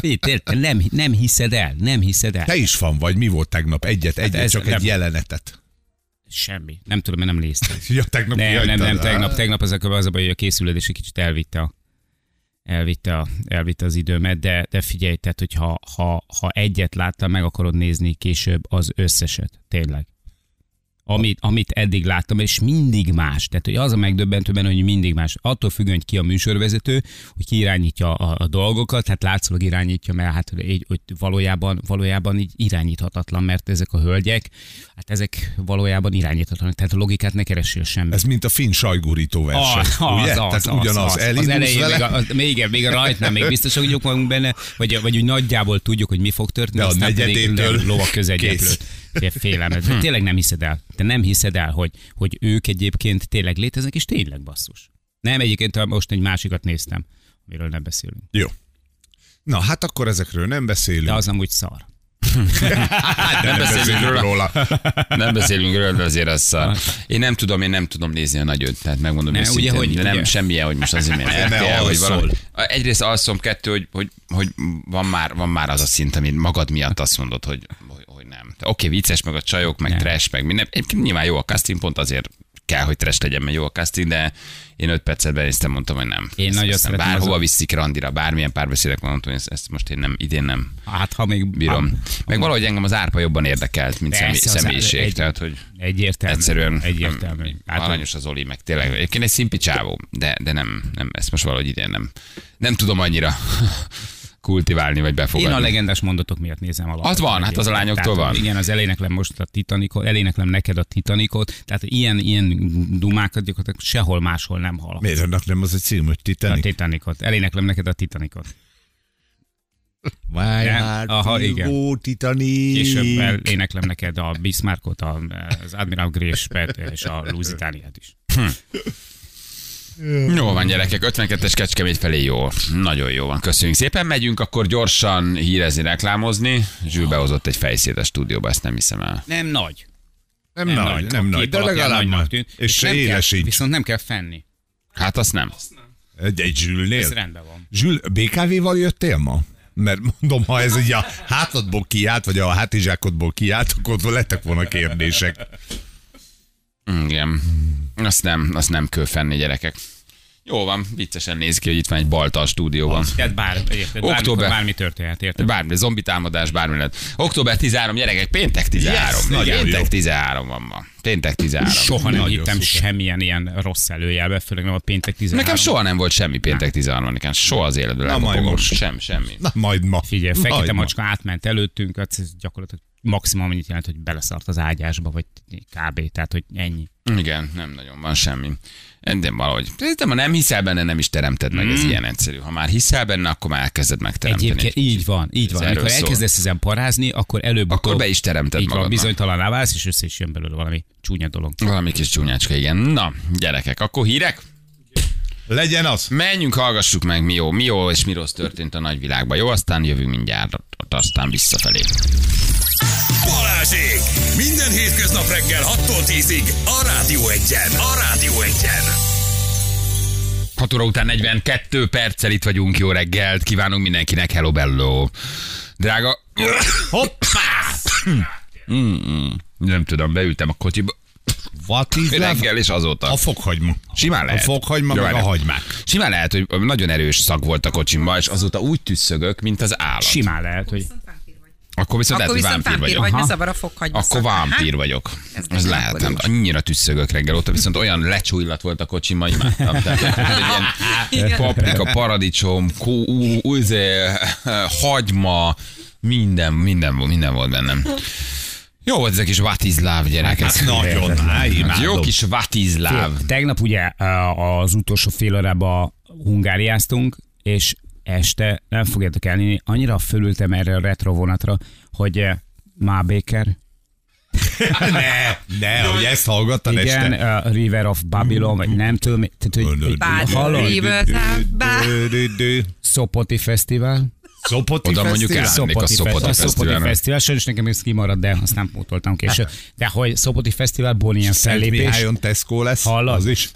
Speaker 3: Té- té- te Nem, nem hiszed el, nem hiszed el.
Speaker 4: Te is fan vagy, mi volt tegnap? Egyet, egyet,
Speaker 3: Hát ez
Speaker 4: csak
Speaker 3: nem-
Speaker 4: egy jelenetet. <laughs>
Speaker 3: Semmi. Nem tudom, én nem néztem.
Speaker 4: Ja, tegnap
Speaker 3: Nem, nem,
Speaker 4: kihagytad.
Speaker 3: nem, tegnap, tegnap az a, az a baj, hogy a készülődés egy kicsit elvitte a, elvitte, a, elvitte az időmet, de, de figyelj, tehát, hogy ha, ha, ha egyet láttam, meg akarod nézni később az összeset, tényleg. Amit, amit eddig láttam, és mindig más. Tehát hogy az a megdöbbentő benne, hogy mindig más. Attól függően, hogy ki a műsorvezető, hogy ki irányítja a, a dolgokat, hát látszólag irányítja, mert hát így, hogy valójában, valójában így irányíthatatlan, mert ezek a hölgyek, hát ezek valójában irányíthatatlanak. Tehát a logikát ne keressél semmi.
Speaker 4: Ez mint a finn sajgurító verseny,
Speaker 3: Ah, Az,
Speaker 4: ugye?
Speaker 3: az,
Speaker 4: Tehát
Speaker 3: az,
Speaker 4: ugyanaz,
Speaker 3: az, az, az
Speaker 4: elindulsz
Speaker 3: elején,
Speaker 4: vele,
Speaker 3: még, a, az, még, igen, még a rajtnál még biztosak vagyunk magunk benne, vagy, vagy úgy nagyjából tudjuk, hogy mi fog történni.
Speaker 4: De a
Speaker 3: aztán pedig
Speaker 4: negyedétől
Speaker 3: lő- lovak
Speaker 4: kész.
Speaker 3: közegyeplőt. Félelmet. Hmm. Tényleg nem hiszed el. Te nem hiszed el, hogy, hogy ők egyébként tényleg léteznek, és tényleg basszus. Nem, egyébként ha most egy másikat néztem, amiről nem beszélünk.
Speaker 4: Jó. Na, hát akkor ezekről nem beszélünk.
Speaker 3: De az amúgy szar.
Speaker 4: hát, de nem beszélünk róla.
Speaker 2: Nem beszélünk róla, de azért az szar. Én nem tudom, én nem tudom nézni a nagyot, tehát megmondom
Speaker 3: Ne,
Speaker 2: ne, őszintén,
Speaker 3: ugye, hogy-
Speaker 2: de nem
Speaker 3: ugye.
Speaker 2: semmilyen, hogy most azért mert RTL,
Speaker 4: Ne,
Speaker 2: vagy
Speaker 4: alszol.
Speaker 2: valami. Egyrészt alszom, kettő, hogy, hogy, hogy van, már, van már az a szint, amit magad miatt azt mondod, hogy, hogy, hogy nem. Te Oké, vicces, meg a csajok, meg
Speaker 3: Nem.
Speaker 2: trash, meg minden. Egyébként nyilván jó a casting, pont azért kell, hogy trash legyen, mert jó a casting, de én öt percet benéztem, mondtam, hogy nem.
Speaker 3: Én
Speaker 2: Ezt
Speaker 3: nagyon
Speaker 2: aztán
Speaker 3: szeretem
Speaker 2: Bárhova
Speaker 3: azon-
Speaker 2: viszik randira, bármilyen párbeszédek mondtam, hogy ezt, ezt most én nem, idén nem
Speaker 3: Hát, ha még...
Speaker 2: bírom. Meg valahogy engem az árpa jobban érdekelt, mint
Speaker 3: Persze,
Speaker 2: személy,
Speaker 3: az-
Speaker 2: személyiség.
Speaker 3: egy-
Speaker 2: tehát, hogy
Speaker 3: Egyértelmű.
Speaker 2: egyszerűen
Speaker 3: Egyértelmű.
Speaker 2: Hát, aranyos az Oli, meg tényleg. Egyébként egy szimpi csávó, de, de nem, nem, ezt most valahogy idén nem. Nem tudom annyira <laughs> kultiválni, vagy
Speaker 3: Én
Speaker 2: befogadni.
Speaker 3: a legendás mondatok miatt nézem alapvetően.
Speaker 2: Az van, hát az a lányoktól
Speaker 3: Tehát,
Speaker 2: van.
Speaker 3: Igen, az eléneklem most a Titanicot, eléneklem neked a Titanicot, tehát ilyen, ilyen dumákat gyakorlatilag sehol máshol nem hall.
Speaker 4: Miért annak nem az a cím, hogy
Speaker 3: A
Speaker 4: Titanic?
Speaker 3: Titanicot. Eléneklem neked a Titanicot.
Speaker 4: My
Speaker 3: Nem?
Speaker 4: heart
Speaker 3: Aha,
Speaker 4: will
Speaker 3: igen.
Speaker 4: go Titanic.
Speaker 3: Később eléneklem neked a Bismarckot, a, az Admiral Grésbet és a Lusitaniát is.
Speaker 2: Jó van, gyerekek, 52-es Kecskemény felé jó. Nagyon jó van, köszönjük szépen. Megyünk akkor gyorsan hírezni, reklámozni. Zsül behozott egy fejszét a stúdióba, ezt nem hiszem el.
Speaker 3: Nem nagy.
Speaker 4: Nem, nem nagy, nem nagy, de legalább nagy.
Speaker 3: tűnt,
Speaker 4: És se
Speaker 3: nem kell,
Speaker 4: éles így.
Speaker 3: Viszont nem kell fenni.
Speaker 2: Hát azt nem.
Speaker 4: Egy, egy
Speaker 3: Ez
Speaker 4: zsülnél.
Speaker 3: rendben van.
Speaker 4: Zsül, BKV-val jöttél ma? Mert mondom, ha ez így a hátadból kiállt, vagy a hátizsákodból kiállt, akkor ott lettek volna kérdések.
Speaker 2: Igen. Azt nem, azt nem kell fenni, gyerekek. Jó van, viccesen néz ki, hogy itt van egy balta a stúdióban.
Speaker 3: Tehát bár, érted, bármikor
Speaker 2: Október.
Speaker 3: bármi történhet, érted?
Speaker 2: Bármi, zombi támadás, bármi lett. Október 13, gyerekek, péntek 13.
Speaker 4: Yes,
Speaker 2: Yes,
Speaker 4: nagyon
Speaker 2: péntek
Speaker 4: jó.
Speaker 2: 13 van ma. Péntek 13.
Speaker 3: Soha nem
Speaker 4: Nagyon
Speaker 3: hittem
Speaker 4: szuper.
Speaker 3: semmilyen ilyen rossz előjelbe, főleg nem a péntek 13.
Speaker 2: Nekem soha nem volt semmi péntek 13-án, soha az életben.
Speaker 4: Na,
Speaker 2: nem
Speaker 4: majd
Speaker 2: fogom.
Speaker 4: most.
Speaker 2: Sem, semmi.
Speaker 4: Na, majd ma.
Speaker 3: Figyelj, fekete
Speaker 4: Majd ma.
Speaker 3: macska átment előttünk, az gyakorlatilag maximum annyit jelent, hogy beleszart az ágyásba, vagy kb. Tehát, hogy ennyi.
Speaker 2: Igen, nem nagyon van semmi. De valahogy. De ha nem hiszel benne, nem is teremted meg, ez ilyen egyszerű. Ha már hiszel benne, akkor már elkezded megteremteni.
Speaker 3: Mm. Egyébként így van, így
Speaker 2: Ez
Speaker 3: van.
Speaker 2: erről
Speaker 3: Amikor
Speaker 2: szól.
Speaker 3: elkezdesz ezen parázni, akkor előbb
Speaker 2: Akkor be is teremted
Speaker 3: így van,
Speaker 2: magadnak.
Speaker 3: bizonytalan válsz, és össze is jön belőle valami csúnya dolog.
Speaker 2: Valami kis csúnyácska, igen. Na, gyerekek, akkor hírek?
Speaker 4: Legyen az.
Speaker 2: Menjünk, hallgassuk meg, mi jó, mi jó és mi rossz történt a nagyvilágban. Jó, aztán jövünk mindjárt, aztán visszafelé.
Speaker 1: Balázsék! Minden hétköznap reggel 6-tól 10-ig a Rádió Egyen! A Rádió Egyen!
Speaker 2: 6 óra után 42 perccel itt vagyunk, jó reggelt, kívánunk mindenkinek, hello bello. Drága... Hoppá! Mm-mm. Nem tudom, beültem a kocsiba
Speaker 4: What is love?
Speaker 2: reggel, és azóta.
Speaker 4: A fokhagyma.
Speaker 2: Simán lehet.
Speaker 4: A fokhagyma, meg
Speaker 2: Simán
Speaker 4: a
Speaker 2: lehet.
Speaker 4: hagymák.
Speaker 2: Simán lehet, hogy nagyon erős szag volt a kocsimba, és azóta úgy tüsszögök, mint az állat.
Speaker 3: Simán lehet, hogy
Speaker 2: Akkor viszont
Speaker 5: Akkor
Speaker 2: lehet, hogy
Speaker 5: viszont
Speaker 2: vámpír
Speaker 5: vámpír
Speaker 2: vagyok.
Speaker 5: vagy,
Speaker 2: Aha.
Speaker 5: ne zavar a fokhagyma.
Speaker 2: Akkor
Speaker 5: szagát.
Speaker 2: vámpír
Speaker 5: Hát,
Speaker 2: vagyok.
Speaker 5: Ez
Speaker 2: Ez
Speaker 5: nem
Speaker 2: lehet.
Speaker 5: akkor is.
Speaker 2: Annyira tüsszögök reggel ott, viszont olyan lecsó illat volt a kocsim, ma imádtam. Tehát, hogy egy ilyen paprika, paradicsom, kó, ú, ú, izé, hagyma, minden, minden, minden volt bennem. Jó volt ez a kis vatizláv gyerek. ez.
Speaker 4: Hát nagyon, á, imádom.
Speaker 2: Jó kis vatizláv.
Speaker 3: Tegnap ugye á, az utolsó fél órában hungáriáztunk, és este, nem fogjátok elni, annyira fölültem erre a retro vonatra, hogy eh, má Baker,
Speaker 4: Ne, ne, hogy ezt hallgattad
Speaker 3: igen,
Speaker 4: este.
Speaker 3: a River of Babylon, vagy nem tudom, mi- tehát, hogy, hogy
Speaker 5: Bad
Speaker 3: hallod,
Speaker 5: River.
Speaker 3: Szopoti Fesztivál,
Speaker 4: Szopoti
Speaker 2: Oda mondjuk
Speaker 4: fesztivál?
Speaker 2: elmennék a Szopoti
Speaker 3: Fesztivál. A Szopoti
Speaker 2: Fesztiválra. Hát.
Speaker 3: Fesztivál, sajnos nekem ez kimarad, de aztán pótoltam később. De hogy Szopoti Fesztivál, Bonnie
Speaker 4: Szent
Speaker 3: fellépés.
Speaker 4: Mihályon Tesco lesz.
Speaker 3: Hallod?
Speaker 4: Az is.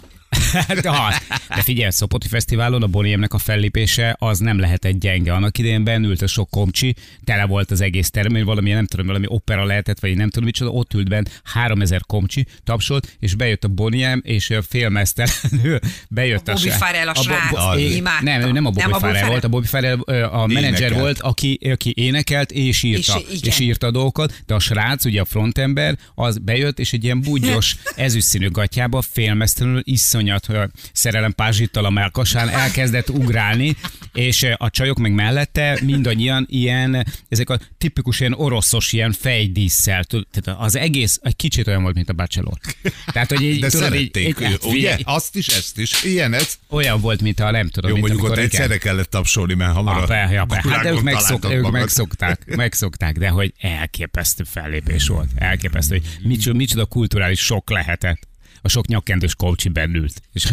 Speaker 3: <laughs> de, az. de figyelj, Szopoti Fesztiválon a Boniemnek a fellépése az nem lehetett gyenge. Annak idején benült a sok komcsi, tele volt az egész terem, hogy valami, nem tudom, valami opera lehetett, vagy nem tudom micsoda, ott ült bent 3000 komcsi, tapsolt, és bejött a Boniem, és ö, félmeztelenül bejött a,
Speaker 5: Bobby
Speaker 3: srác.
Speaker 5: Farrell a
Speaker 3: Bo-
Speaker 5: srác,
Speaker 3: Bo-
Speaker 5: én
Speaker 3: é-
Speaker 5: imádtam.
Speaker 3: Nem, ő nem a Bobby
Speaker 5: Nem a Bobby
Speaker 3: Farrell volt, a Bobby Farrell ö, a menedzser
Speaker 4: Énekelt.
Speaker 3: volt, aki, aki énekelt és írta.
Speaker 5: És- igen.
Speaker 3: és írta dolgokat, de a srác, ugye a frontember, az bejött, és egy ilyen
Speaker 4: <laughs>
Speaker 3: búgyos, ezüstszínű gatyába félmeztelenül iszonyat ö, szerelem pázsittal a melkasán elkezdett ugrálni, és ö, a csajok meg mellette mindannyian ilyen, ezek a tipikus ilyen oroszos ilyen fejdísszel, tud- tehát az egész egy kicsit olyan volt, mint a Bachelor. Tehát, hogy így,
Speaker 4: De
Speaker 3: tudod, így,
Speaker 4: szerették,
Speaker 3: így-
Speaker 4: ő, ugye?
Speaker 3: figyelj,
Speaker 4: Azt is, ezt is. Ilyen ez.
Speaker 3: olyan volt, mint a nem tudom,
Speaker 4: Jó,
Speaker 3: mint
Speaker 4: mondjuk ott
Speaker 3: amikor igen.
Speaker 4: egyszerre kellett tapsolni, mert hamar
Speaker 3: Ah,
Speaker 4: a
Speaker 3: be, ja, be. Hát de
Speaker 4: kukurákon
Speaker 3: ők, megszok,
Speaker 4: találtad
Speaker 3: ők
Speaker 4: magad. <laughs>
Speaker 3: megszokták, megszokták, de hogy elképesztő fellépés volt. Elképesztő, hogy micsoda, micsoda kulturális sok lehetett. A sok nyakkendős kocsi bennült. És, <laughs>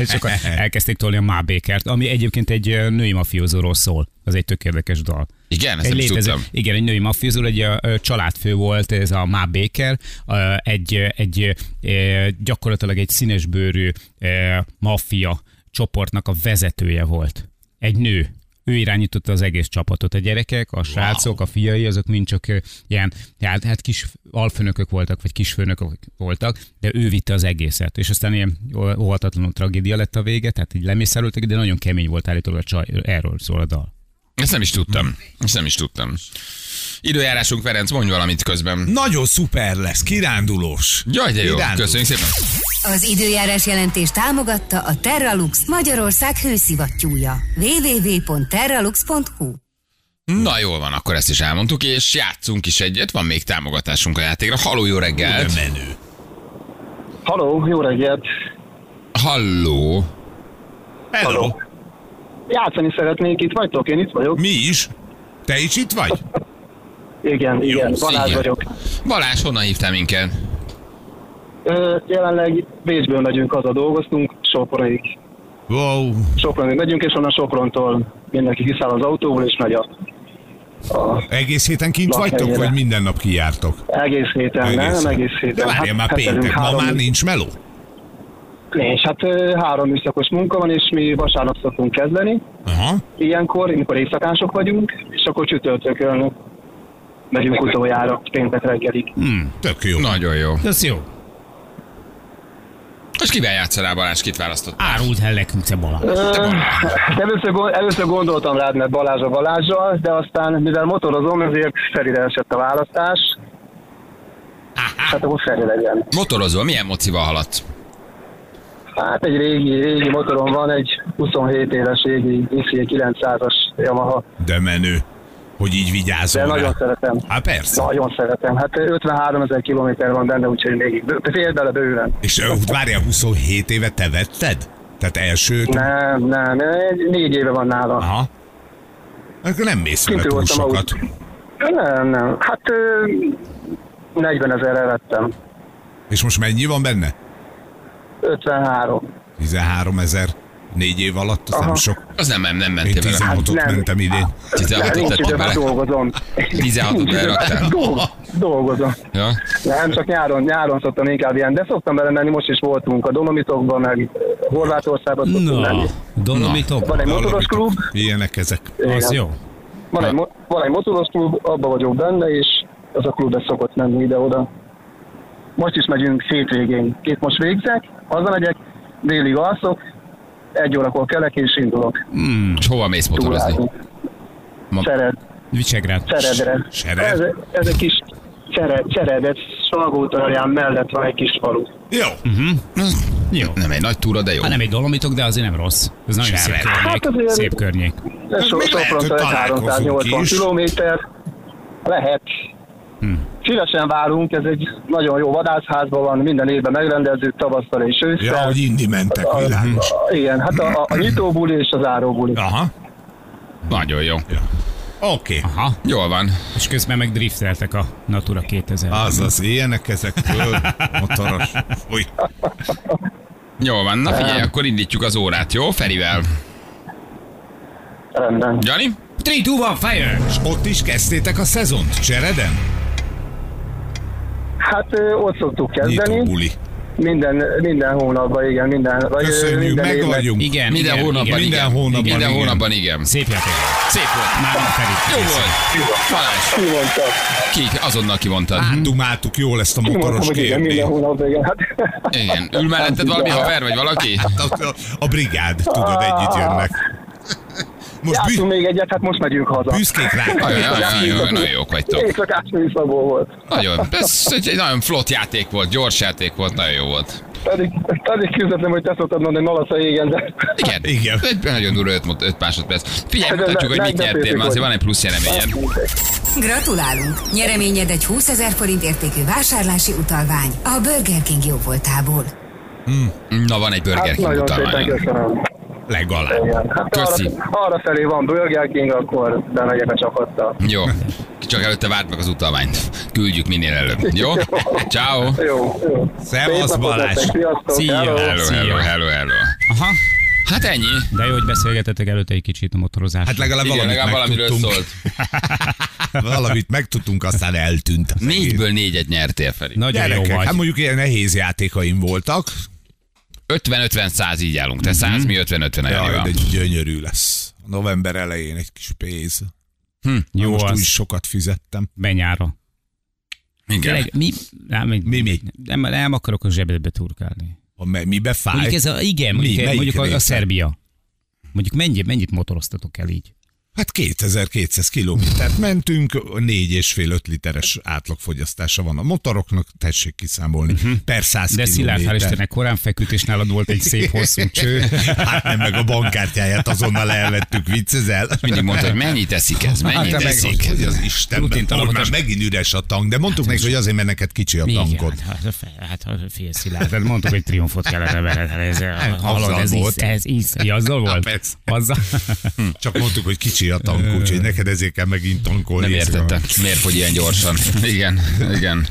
Speaker 3: és akkor elkezdték tolni a Mábékert, ami egyébként egy ö, női mafiózóról szól. Az egy tök érdekes dal.
Speaker 2: Igen, ezt nem is
Speaker 3: létező-
Speaker 2: tudtam.
Speaker 3: Igen, egy női mafiózó, egy ö, ö, családfő volt, ez a Má Baker, ö, egy, ö, egy ö, gyakorlatilag egy színesbőrű ö, maffia csoportnak a vezetője volt. Egy nő. Ő irányította az egész csapatot. A gyerekek, a srácok, a fiai, azok mind csak ö, ilyen, hát, hát kis alfőnökök voltak, vagy kisfőnökök voltak, de ő vitte az egészet. És aztán ilyen óhatatlanul tragédia lett a vége, tehát így lemészároltak, de nagyon kemény volt állítólag a csaj, erről szól a dal.
Speaker 2: Ezt nem is tudtam. Ezt nem is tudtam. Időjárásunk, Ferenc, mondj valamit közben.
Speaker 4: Nagyon szuper lesz, kirándulós.
Speaker 2: Jaj, de jó.
Speaker 4: Kirándulós.
Speaker 2: Köszönjük szépen.
Speaker 7: Az időjárás jelentés támogatta a Terralux Magyarország hőszivattyúja. www.terralux.hu
Speaker 2: Na jól van, akkor ezt is elmondtuk, és játszunk is egyet, van még támogatásunk a játékra. Halló, jó reggelt!
Speaker 4: De menő.
Speaker 8: Halló, jó reggelt!
Speaker 2: Halló!
Speaker 4: Hello.
Speaker 8: Halló. Játszani szeretnék, itt vagytok, én itt vagyok.
Speaker 4: Mi is? Te is itt vagy?
Speaker 8: Igen,
Speaker 2: Jó,
Speaker 8: igen, Balázs
Speaker 2: szia.
Speaker 8: vagyok.
Speaker 2: Balázs, honnan hívtál minket?
Speaker 8: Ö, jelenleg Bécsből megyünk haza, dolgoztunk, Sopronig.
Speaker 4: Wow.
Speaker 8: Sopronig megyünk, és onnan Soprontól mindenki kiszáll az autóból, és megy a
Speaker 4: Egész héten kint
Speaker 8: Van
Speaker 4: vagytok,
Speaker 8: helyre.
Speaker 4: vagy minden nap kijártok?
Speaker 8: egész héten, egész nem, egész
Speaker 4: De
Speaker 8: héten.
Speaker 4: várjál már
Speaker 8: hetedünk
Speaker 4: péntek, ma
Speaker 8: három-
Speaker 4: már nincs meló.
Speaker 8: Nincs, hát ö, három műszakos munka van, és mi vasárnap szoktunk kezdeni.
Speaker 4: Aha.
Speaker 8: Ilyenkor, amikor éjszakások vagyunk, és akkor csütörtökön megyünk utoljára, péntek reggelig.
Speaker 4: Tök jó.
Speaker 2: Nagyon jó.
Speaker 3: Ez jó.
Speaker 2: És kivel játszol Balázs, kit választott?
Speaker 3: Árult el nekünk te Balázs.
Speaker 8: Hát Először, gond- először gondoltam rád, mert Balázs a Balázsral, de aztán, mivel motorozom, ezért Ferire esett a választás. Hát akkor Feri legyen.
Speaker 2: Motorozol, milyen mocival haladt?
Speaker 8: Hát egy régi, régi motorom van, egy 27 éves régi ICI 900-as Yamaha,
Speaker 4: De menő, hogy így
Speaker 8: de
Speaker 4: vigyázol
Speaker 8: nagyon
Speaker 4: rá.
Speaker 8: szeretem.
Speaker 4: Hát persze.
Speaker 8: Nagyon szeretem. Hát 53 ezer kilométer van benne, úgyhogy még bő- fél bele bőven.
Speaker 4: És ö, várjál, 27 éve te vetted? Tehát elsőt?
Speaker 8: Nem, nem, egy- négy éve van nála.
Speaker 4: Aha. Akkor nem mész vele
Speaker 8: Kintről
Speaker 4: túl
Speaker 8: voltam
Speaker 4: sokat.
Speaker 8: autó. Nem, nem. Hát ö, 40 ezerre vettem.
Speaker 4: És most mennyi van benne?
Speaker 8: 53.
Speaker 4: 13 ezer. Négy év alatt, az
Speaker 8: Aha. Hát
Speaker 4: nem sok.
Speaker 2: Az nem, nem, nem
Speaker 4: Én
Speaker 2: mentél vele.
Speaker 4: 16-ot
Speaker 8: nem.
Speaker 4: mentem idén.
Speaker 2: 16
Speaker 8: Nincs
Speaker 2: ot
Speaker 8: időm, hát
Speaker 2: bele.
Speaker 8: dolgozom.
Speaker 2: 16-ot
Speaker 8: Nincs időm, hát
Speaker 2: beraktál?
Speaker 8: dolgo- <laughs> Dolgozom.
Speaker 2: Ja?
Speaker 8: Nem, csak nyáron, nyáron szoktam inkább ilyen, de szoktam belemenni, most is voltunk a Dolomitokban, meg Horvátországban szoktunk
Speaker 3: Na,
Speaker 8: menni.
Speaker 3: Dolomitok.
Speaker 8: Van egy motoros klub,
Speaker 4: Ilyenek ezek.
Speaker 3: Az
Speaker 8: igen.
Speaker 3: jó.
Speaker 8: van egy, mo- van egy motoros klub, abba vagyok benne, és az a klub ez szokott menni ide-oda. Most is megyünk hétvégén. Két most végzek, hazamegyek, délig alszok, egy órakor kelek és indulok.
Speaker 2: És hova mész motorozni?
Speaker 8: Túrázni.
Speaker 2: Ma-
Speaker 8: Szeret.
Speaker 3: Visegrád.
Speaker 8: Szeredre.
Speaker 4: Sered?
Speaker 8: Ez, ez egy kis Csered, Cseredet, Salgótarján mellett van egy kis falu.
Speaker 4: Jó.
Speaker 3: Jó.
Speaker 2: Nem egy nagy túra, de jó.
Speaker 3: Hát nem egy dolomitok, de azért nem rossz. Ez nagyon
Speaker 4: Sem
Speaker 3: szép
Speaker 4: lehet.
Speaker 8: Hát
Speaker 3: környék.
Speaker 8: azért-
Speaker 3: Szép környék.
Speaker 8: Ez so,
Speaker 4: mi lehet, hogy
Speaker 8: Soprontól egy
Speaker 4: találkozunk
Speaker 8: 380
Speaker 4: is? Hm.
Speaker 8: kilométer. Lehet. Szívesen várunk, ez egy nagyon jó vadászházban van, minden évben megrendezzük tavasszal és ősszel.
Speaker 4: Ja, hogy indi mentek,
Speaker 8: A-
Speaker 4: világos.
Speaker 8: a- Igen, hát a, a- a nyitóbuli és a záróbuli.
Speaker 4: Aha.
Speaker 2: Nagyon jó.
Speaker 4: Oké. Okay.
Speaker 3: Aha,
Speaker 2: Jól van.
Speaker 3: és közben meg drifteltek a Natura 2000.
Speaker 4: Azaz, ilyenek ezek föl, motoros. Fúj.
Speaker 2: Jól van. Na figyelj, akkor indítjuk az órát, jó? Ferivel.
Speaker 8: Rendben.
Speaker 2: Jani?
Speaker 3: 3, 2, 1, fire!
Speaker 4: És ott is kezdtétek a szezont, Csereden?
Speaker 8: Hát ö, ott szoktuk kezdeni.
Speaker 4: Nyitóbuli.
Speaker 8: Minden, minden hónapban, igen, minden. Vagy, ö,
Speaker 4: Köszönjük,
Speaker 8: minden
Speaker 4: meg
Speaker 8: évben.
Speaker 4: vagyunk.
Speaker 3: Igen,
Speaker 2: Minden
Speaker 3: igen,
Speaker 2: hónapban
Speaker 3: igen.
Speaker 2: igen.
Speaker 4: Minden hónapban
Speaker 2: Minden
Speaker 4: igen.
Speaker 2: hónapban igen.
Speaker 3: Szép játék.
Speaker 2: Szép volt.
Speaker 3: Már nem
Speaker 2: Jó
Speaker 3: Feri.
Speaker 2: volt. Balázs,
Speaker 8: Kimondtam.
Speaker 2: ki, azonnal kivontad.
Speaker 4: Dumáltuk jól ezt a motoros
Speaker 8: Kimondtam, hogy igen, minden
Speaker 4: kérdést.
Speaker 8: hónapban, igen. Hát,
Speaker 2: Igen. Ül melletted valami haver, vagy valaki?
Speaker 4: Hát, A, a, a brigád, tudod, együtt jönnek. Most bű,
Speaker 8: Játszunk még egyet, hát most megyünk haza.
Speaker 4: büszkék rá.
Speaker 2: Nagyon, nagyon, nagyon, jó- nagyon jók vagytok.
Speaker 8: Éjszakás műszakból volt.
Speaker 2: Nagyon. Ez egy egy nagyon flott játék volt, gyors játék volt, nagyon jó volt.
Speaker 8: Pedig, pedig küzdöttem, hogy te szoktad mondani, malac a jégen, de
Speaker 2: Igen.
Speaker 4: Igen.
Speaker 2: Egy nagyon durva 5 másodperc. Figyelj,
Speaker 8: Ez-
Speaker 2: mutatjuk, hogy
Speaker 8: ez-
Speaker 2: mit nyertél,
Speaker 8: megbeszéltük,
Speaker 2: mert azért
Speaker 8: hogy-
Speaker 2: van egy plusz nyereményed.
Speaker 7: Gratulálunk! Nyereményed egy 20 ezer forint értékű vásárlási utalvány a Burger King jóvoltából.
Speaker 2: Na, van egy Burger
Speaker 8: hát
Speaker 2: King
Speaker 8: nagyon szépen
Speaker 2: utalvány.
Speaker 8: köszönöm.
Speaker 4: Legalább.
Speaker 8: Igen. Hát
Speaker 2: Köszi.
Speaker 8: arra, arra felé van Burger King, akkor bemegyek a csapattal.
Speaker 2: Jó. Csak előtte várd meg az utalványt. Küldjük minél előbb. Jó? Ciao.
Speaker 8: Jó, jó.
Speaker 4: Szevasz,
Speaker 8: Szép napot
Speaker 4: Balázs.
Speaker 8: nektek, Sziasztok,
Speaker 3: Szia.
Speaker 8: hello.
Speaker 2: Hello, hello, hello, hello.
Speaker 3: Aha,
Speaker 2: Hát ennyi.
Speaker 3: de jó, hogy beszélgetetek előtte egy kicsit a motorozásról.
Speaker 4: Hát legalább
Speaker 2: Igen,
Speaker 4: valamit
Speaker 2: legalább valamiről
Speaker 4: megtudtunk.
Speaker 2: szólt.
Speaker 4: Valamit megtudtunk, aztán eltűnt. az egész.
Speaker 2: Négyből négyet nyertél, Feri.
Speaker 3: Nagyon jó
Speaker 4: Gyerekek,
Speaker 3: vagy.
Speaker 4: hát mondjuk ilyen nehéz játékaim voltak,
Speaker 2: 50-50-100 így állunk. Te 100, mi 50-50 a
Speaker 4: Jaj, de
Speaker 2: Janival.
Speaker 4: gyönyörű lesz. November elején egy kis pénz.
Speaker 3: Jó
Speaker 4: Most
Speaker 3: az.
Speaker 4: úgy sokat fizettem.
Speaker 3: Benyára.
Speaker 2: Igen.
Speaker 3: Tényleg, mi? Nem,
Speaker 4: Mi, mi?
Speaker 3: Nem, nem akarok a zsebedbe turkálni.
Speaker 4: A me- mibe fáj?
Speaker 3: Mondjuk ez a, igen, mondjuk,
Speaker 4: melyik
Speaker 3: mondjuk a,
Speaker 4: része?
Speaker 3: a Szerbia. Mondjuk mennyit, mennyit motoroztatok el így?
Speaker 4: Hát 2200 kilométert mentünk, 4 és fél 5 literes átlagfogyasztása van a motoroknak, tessék kiszámolni. Uh-huh. Per 100
Speaker 3: Mhm. De Szilárd, hál'
Speaker 4: kilométer.
Speaker 3: Istennek korán feküdt, és nálad volt egy szép hosszú cső.
Speaker 4: <laughs> Hát nem, meg a bankkártyáját azonnal elvettük, viccezel.
Speaker 2: Mindig mondta, hogy mennyit eszik ez, mennyit
Speaker 4: Hát,
Speaker 2: eszik.
Speaker 4: meg, hogy az Istenben,
Speaker 3: Rutintalan
Speaker 4: Ó, már
Speaker 3: hatás.
Speaker 4: megint üres a tank, de mondtuk neki, hogy azért, mert neked kicsi a tankod.
Speaker 3: Hát Igen, hát, hát, hát, hát fél Szilárd, hát mondtuk, hogy triumfot kellene veled. hát Ez, hallod, ez,
Speaker 4: volt.
Speaker 3: isz, ez isz. Ja, azzal volt?
Speaker 4: Hát persze. Hm.
Speaker 3: Azzal.
Speaker 4: Csak mondtuk, hogy kicsi a tank, úgyhogy neked ezért kell megint tankolni.
Speaker 2: Nem értette, miért fogy ilyen gyorsan. Igen, igen.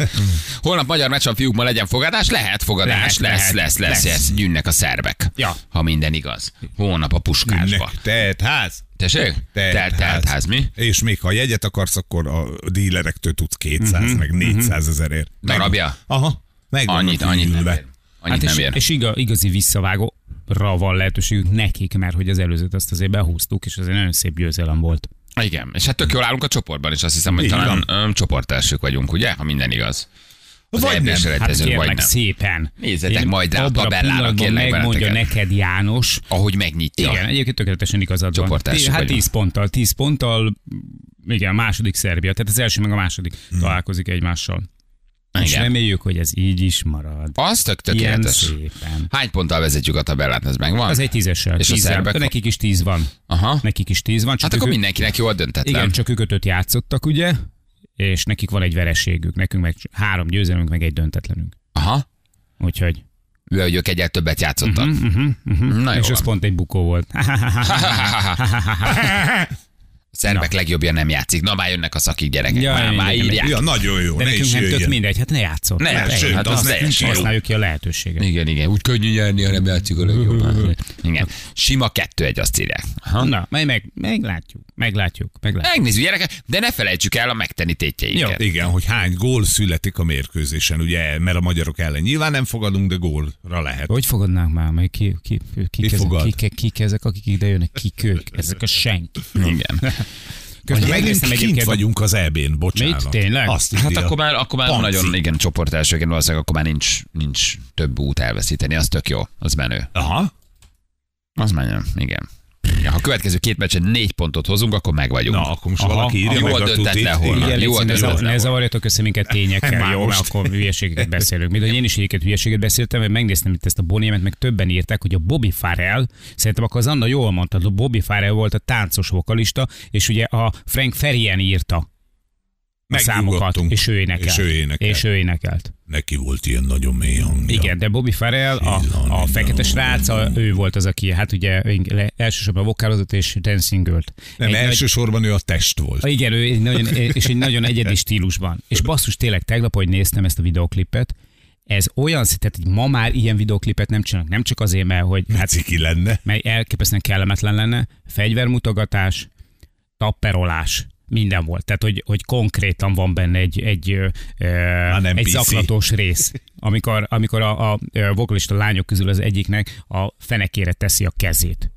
Speaker 2: Holnap magyar meccs a fiúk, ma legyen fogadás? Lehet fogadás,
Speaker 3: Lehet,
Speaker 2: lesz,
Speaker 3: lehet,
Speaker 2: lesz, lesz,
Speaker 3: lesz.
Speaker 2: lesz. Gyűnnek a szerbek.
Speaker 3: Ja.
Speaker 2: Ha minden igaz. Holnap a puskásba.
Speaker 4: Nek- Tehát ház.
Speaker 2: Tessék?
Speaker 4: Tehát
Speaker 2: Telt, telt ház, mi?
Speaker 4: És még ha jegyet akarsz, akkor a dílerektől tudsz 200,
Speaker 3: Mhm.
Speaker 4: uh-huh, meg 400 ezerért. Meg-
Speaker 2: Darabja?
Speaker 4: Aha. Meg vannak
Speaker 2: Annyit, annyit nem
Speaker 4: ülve.
Speaker 2: ér. Annyit
Speaker 3: Hát és,
Speaker 2: nem ér.
Speaker 3: és iga, igazi visszavágó van lehetőségük nekik, mert hogy az előzőt azt azért behúztuk, és azért nagyon szép győzelem volt.
Speaker 2: Igen, és hát tök jól állunk a csoportban, és azt hiszem, hogy
Speaker 4: Így
Speaker 2: talán öm, csoportelsők vagyunk, ugye? Ha minden igaz. Az EB-s
Speaker 4: Vagy nem. Hát
Speaker 3: Hát
Speaker 2: selejtezőn,
Speaker 3: kérlek
Speaker 2: vagy nem.
Speaker 3: szépen.
Speaker 2: Nézzetek majd rá a
Speaker 3: abban
Speaker 2: tabellára,
Speaker 3: pillanatban
Speaker 2: kérlek
Speaker 3: megmondja
Speaker 2: benneteket.
Speaker 3: neked János,
Speaker 2: Ahogy megnyitja.
Speaker 3: Igen, egyébként tökéletesen igazad van.
Speaker 2: Csoportársak
Speaker 3: Hát
Speaker 2: vagyunk.
Speaker 3: 10 ponttal, 10 ponttal, igen, a második Szerbia, tehát az első meg a második találkozik egymással. Igen. És
Speaker 2: Hmm. Igen.
Speaker 3: reméljük, hogy ez így is marad.
Speaker 2: Az tök
Speaker 3: Ilyen
Speaker 2: tökéletes.
Speaker 3: szépen.
Speaker 2: Hány ponttal vezetjük a tabellát, ez megvan?
Speaker 3: Az egy tízessel.
Speaker 2: És a
Speaker 3: tízzel.
Speaker 2: szerbek-
Speaker 3: Nekik is tíz van.
Speaker 2: Aha.
Speaker 3: Nekik is tíz van. Csak
Speaker 2: Hát akkor
Speaker 3: ők-
Speaker 2: mindenkinek jól döntetlen.
Speaker 3: Igen, csak ők ötöt játszottak, ugye? És nekik van egy vereségük, nekünk meg három győzelmünk, meg egy döntetlenünk.
Speaker 2: Aha.
Speaker 3: Úgyhogy. Mhm.
Speaker 2: Ő, hogy ők egyet többet játszottak. Na jó
Speaker 3: és az
Speaker 2: van.
Speaker 3: pont egy bukó volt. Hát
Speaker 2: A szerbek legjobbja nem játszik. Na már jönnek a szakik gyerekek.
Speaker 3: Jaj,
Speaker 2: már, már
Speaker 3: igen,
Speaker 2: írják.
Speaker 4: Ja, nagyon jó.
Speaker 3: De
Speaker 4: ne
Speaker 3: nekünk
Speaker 4: is
Speaker 3: nem tök
Speaker 4: jöjjön.
Speaker 3: mindegy, hát ne játszol.
Speaker 2: Ne,
Speaker 3: hát,
Speaker 2: sőt,
Speaker 3: hát
Speaker 2: az
Speaker 3: azt
Speaker 2: teljesen jó.
Speaker 3: használjuk ki a lehetőséget.
Speaker 2: Igen, igen. Úgy könnyű nyerni, ha nem játszik a <laughs> legjobban. Igen. Sima kettő egy azt írják.
Speaker 3: Ha? Na, majd meg, meglátjuk, meglátjuk, meglátjuk.
Speaker 2: Megnézzük, gyerekek, de ne felejtsük el a megtenni tétjeinket.
Speaker 3: Jó.
Speaker 4: Igen, hogy hány gól születik a mérkőzésen, ugye, mert a magyarok ellen nyilván nem fogadunk, de gólra lehet.
Speaker 3: Hogy fogadnánk már, meg ki, ki, ki, ki, ezek,
Speaker 4: fogad?
Speaker 3: ki, ki, ki ezek, akik ide jönnek, kik ők, ezek a senki.
Speaker 2: Igen.
Speaker 4: Megint
Speaker 3: Közben megnéztem
Speaker 4: kint
Speaker 3: egyébként, vagyunk.
Speaker 4: vagyunk az EB-n, bocsánat.
Speaker 3: Mit? Tényleg?
Speaker 4: Azt
Speaker 2: Hát
Speaker 4: írja.
Speaker 2: akkor már, akkor már
Speaker 4: Panci.
Speaker 2: nagyon, igen, csoport elsőként valószínűleg akkor már nincs, nincs több út elveszíteni, az tök jó, az menő.
Speaker 4: Aha.
Speaker 2: Az menő, igen. Ja, ha a következő két meccsen négy pontot hozunk, akkor meg vagyunk.
Speaker 4: Na, akkor most
Speaker 3: Aha.
Speaker 4: valaki írja
Speaker 2: Jól
Speaker 4: meg a
Speaker 2: döntött
Speaker 4: tutit.
Speaker 2: le holnap.
Speaker 4: Igen.
Speaker 2: Jó,
Speaker 3: Jó, ne,
Speaker 2: de jó,
Speaker 3: zav-
Speaker 2: de
Speaker 3: ne
Speaker 2: jó.
Speaker 3: zavarjatok össze minket tényekkel,
Speaker 4: hát <laughs> Már
Speaker 3: jó, mert
Speaker 4: most.
Speaker 3: akkor hülyeségeket beszélünk. Mint hogy én is egyébként hülyeséget beszéltem, mert megnéztem itt ezt a Bonémet, meg többen írták, hogy a Bobby Farrell, szerintem akkor az Anna jól mondta, a Bobby Farrell volt a táncos vokalista, és ugye a Frank Ferien írta a számokat,
Speaker 4: Megnyugodtunk.
Speaker 3: és ő énekelt.
Speaker 4: És ő énekelt.
Speaker 3: És ő énekelt.
Speaker 4: Neki volt ilyen nagyon mély hangja.
Speaker 3: Igen, de Bobby Farrell, a, a fekete srác, a, ő volt az, aki hát ugye le- elsősorban vokálozott és dancing girl-t.
Speaker 4: Nem,
Speaker 3: Egy nagy-
Speaker 4: elsősorban ő a test volt.
Speaker 3: Ah, Igen, ő egy nagyon, és egy nagyon egyedi stílusban. És basszus, tényleg tegnap, hogy néztem ezt a videoklipet, ez olyan, szint- tehát hogy ma már ilyen videoklipet nem csinálnak, nem csak azért, mert hogy
Speaker 4: Hát
Speaker 3: hát,
Speaker 4: ciki lenne.
Speaker 3: mert elképesztően kellemetlen lenne, fegyvermutogatás, tapperolás, minden volt. Tehát, hogy, hogy konkrétan van benne egy, egy, ö, ö,
Speaker 4: nem
Speaker 3: egy
Speaker 4: PC.
Speaker 3: zaklatós rész, amikor, amikor a, a, a vokalista lányok közül az egyiknek a fenekére teszi a kezét.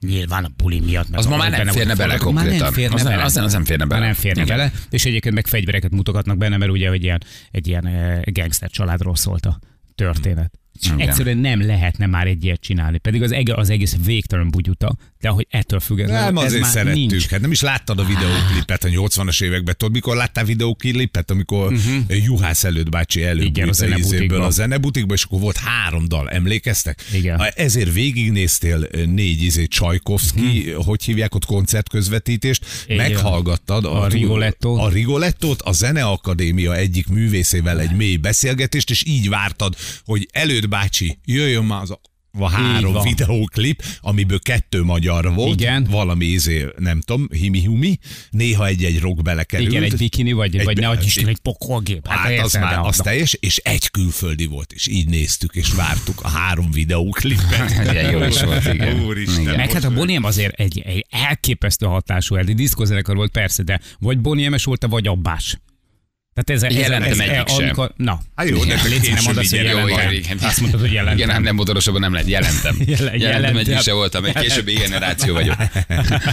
Speaker 3: Nyilván a buli miatt. meg
Speaker 2: Az ma
Speaker 3: a-
Speaker 2: már nem
Speaker 3: benne volt
Speaker 2: férne
Speaker 3: a
Speaker 2: bele
Speaker 3: forgató- már nem
Speaker 2: konkrétan.
Speaker 3: férne
Speaker 2: Az nem-
Speaker 3: bele.
Speaker 2: az nem- az nem férne bele.
Speaker 3: Már nem férne
Speaker 2: Igen.
Speaker 3: bele. És egyébként meg fegyvereket mutogatnak benne, mert ugye egy ilyen, egy ilyen eh, gangster családról szólt a történet.
Speaker 2: Igen.
Speaker 3: Igen. Egyszerűen nem lehetne már egy ilyet csinálni. Pedig az, eg- az egész végtelen bugyuta, de hogy ettől függetlenül
Speaker 4: Nem,
Speaker 3: ez
Speaker 4: azért
Speaker 3: már
Speaker 4: szerettük.
Speaker 3: nincs.
Speaker 4: Hát nem is láttad a videóklipet a 80-as években. Tudod, mikor láttál videóklipet, amikor uh-huh. Juhász előtt bácsi
Speaker 3: Mhm. Igen,
Speaker 4: előbb
Speaker 3: a zenebutikba.
Speaker 4: a, a zenebutikba, és akkor volt három dal, emlékeztek?
Speaker 3: Igen.
Speaker 4: Ha Ezért végignéztél ö, négy izé Csajkovszki, uh-huh. hogy hívják ott koncertközvetítést,
Speaker 3: Mhm. Igen.
Speaker 4: meghallgattad
Speaker 3: A Rigolettót.
Speaker 4: a Rigolettót, a Zeneakadémia egyik művészével egy mély beszélgetést, és így vártad, hogy előtt bácsi, jöjjön már az a a
Speaker 3: Így
Speaker 4: három
Speaker 3: van.
Speaker 4: videóklip, amiből kettő magyar volt,
Speaker 3: Igen.
Speaker 4: valami izé, nem tudom, himi-humi, néha egy-egy rock belekerült.
Speaker 3: Igen, egy bikini, vagy,
Speaker 4: Egy
Speaker 3: egy vagy
Speaker 4: be-
Speaker 3: ne adj Isten,
Speaker 4: egy-
Speaker 3: egy pokolgép.
Speaker 4: Hát, hát az
Speaker 3: érted,
Speaker 4: már,
Speaker 3: de
Speaker 4: az
Speaker 3: abba.
Speaker 4: teljes, és egy külföldi volt, és így néztük, és vártuk a három <laughs> videóklipet.
Speaker 2: Igen, Hát jó is volt, igen.
Speaker 4: Úristen.
Speaker 2: Igen.
Speaker 3: Meg hát a Boniem azért egy, egy elképesztő hatású, egy diszkozenekar volt persze, de vagy Boniemes volt, vagy abbás. Tehát ez, ez,
Speaker 2: Jelentem
Speaker 3: ez,
Speaker 2: egyik sem.
Speaker 3: Amikor, na,
Speaker 4: Hát jó, de
Speaker 3: Igen,
Speaker 4: te
Speaker 3: légy szíves, nem
Speaker 4: később
Speaker 3: mondasz,
Speaker 4: így
Speaker 3: hogy
Speaker 2: Jó,
Speaker 4: jelentem.
Speaker 3: jelentem.
Speaker 2: igen.
Speaker 3: Azt mondtad, hogy jelentem.
Speaker 2: Igen, hát nem modorosabban nem lehet, jelentem.
Speaker 3: <laughs> Jelen-
Speaker 2: Jelentem, egyik
Speaker 3: jelentem.
Speaker 2: se voltam, egy későbbi generáció vagyok.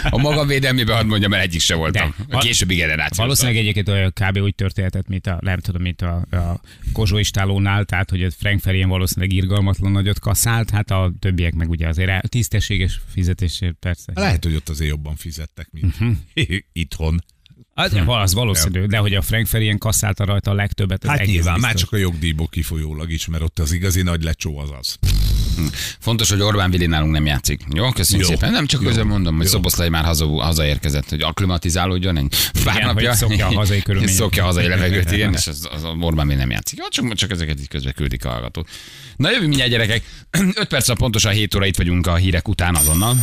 Speaker 2: A magam védelmében hadd mondjam, mert egyik se voltam.
Speaker 3: De.
Speaker 2: A későbbi generáció.
Speaker 3: Valószínűleg egyébként olyan kb. úgy történhetett, mint a, nem tudom, mint a, a Kozsó Istálónál, tehát hogy a Frank Ferien valószínűleg irgalmatlan nagyot kaszált, hát a többiek meg ugye azért el- tisztességes fizetésért persze.
Speaker 4: Lehet, hogy ott azért jobban fizettek, mint <laughs> itthon.
Speaker 3: Az, Hát, az valószínű, de hogy a Frank Ferien kasszálta rajta a legtöbbet, az
Speaker 4: Hát
Speaker 3: egész
Speaker 4: nyilván,
Speaker 3: biztos.
Speaker 4: már csak a jogdíjból kifolyólag is, mert ott az igazi nagy lecsó az az.
Speaker 2: Fontos, hogy Orbán Vili nálunk nem játszik. Jó, köszönjük
Speaker 4: Jó.
Speaker 2: szépen. Nem csak
Speaker 4: Jó.
Speaker 2: közben mondom, hogy
Speaker 4: Jó.
Speaker 2: Szoboszlai már haza, hazaérkezett, hogy akklimatizálódjon egy pár
Speaker 3: Igen,
Speaker 2: napja.
Speaker 3: hogy szokja a
Speaker 2: <laughs>
Speaker 3: hazai körülményeket.
Speaker 2: Szokja a hazai levegőt, igen,
Speaker 3: <laughs>
Speaker 2: és az, az Orbán Vili nem játszik. Jó, csak, csak ezeket így közbe küldik a hallgatók. Na jövünk <clears throat> mindjárt gyerekek. 5 perc a pontosan 7 óra itt vagyunk a hírek után azonnal.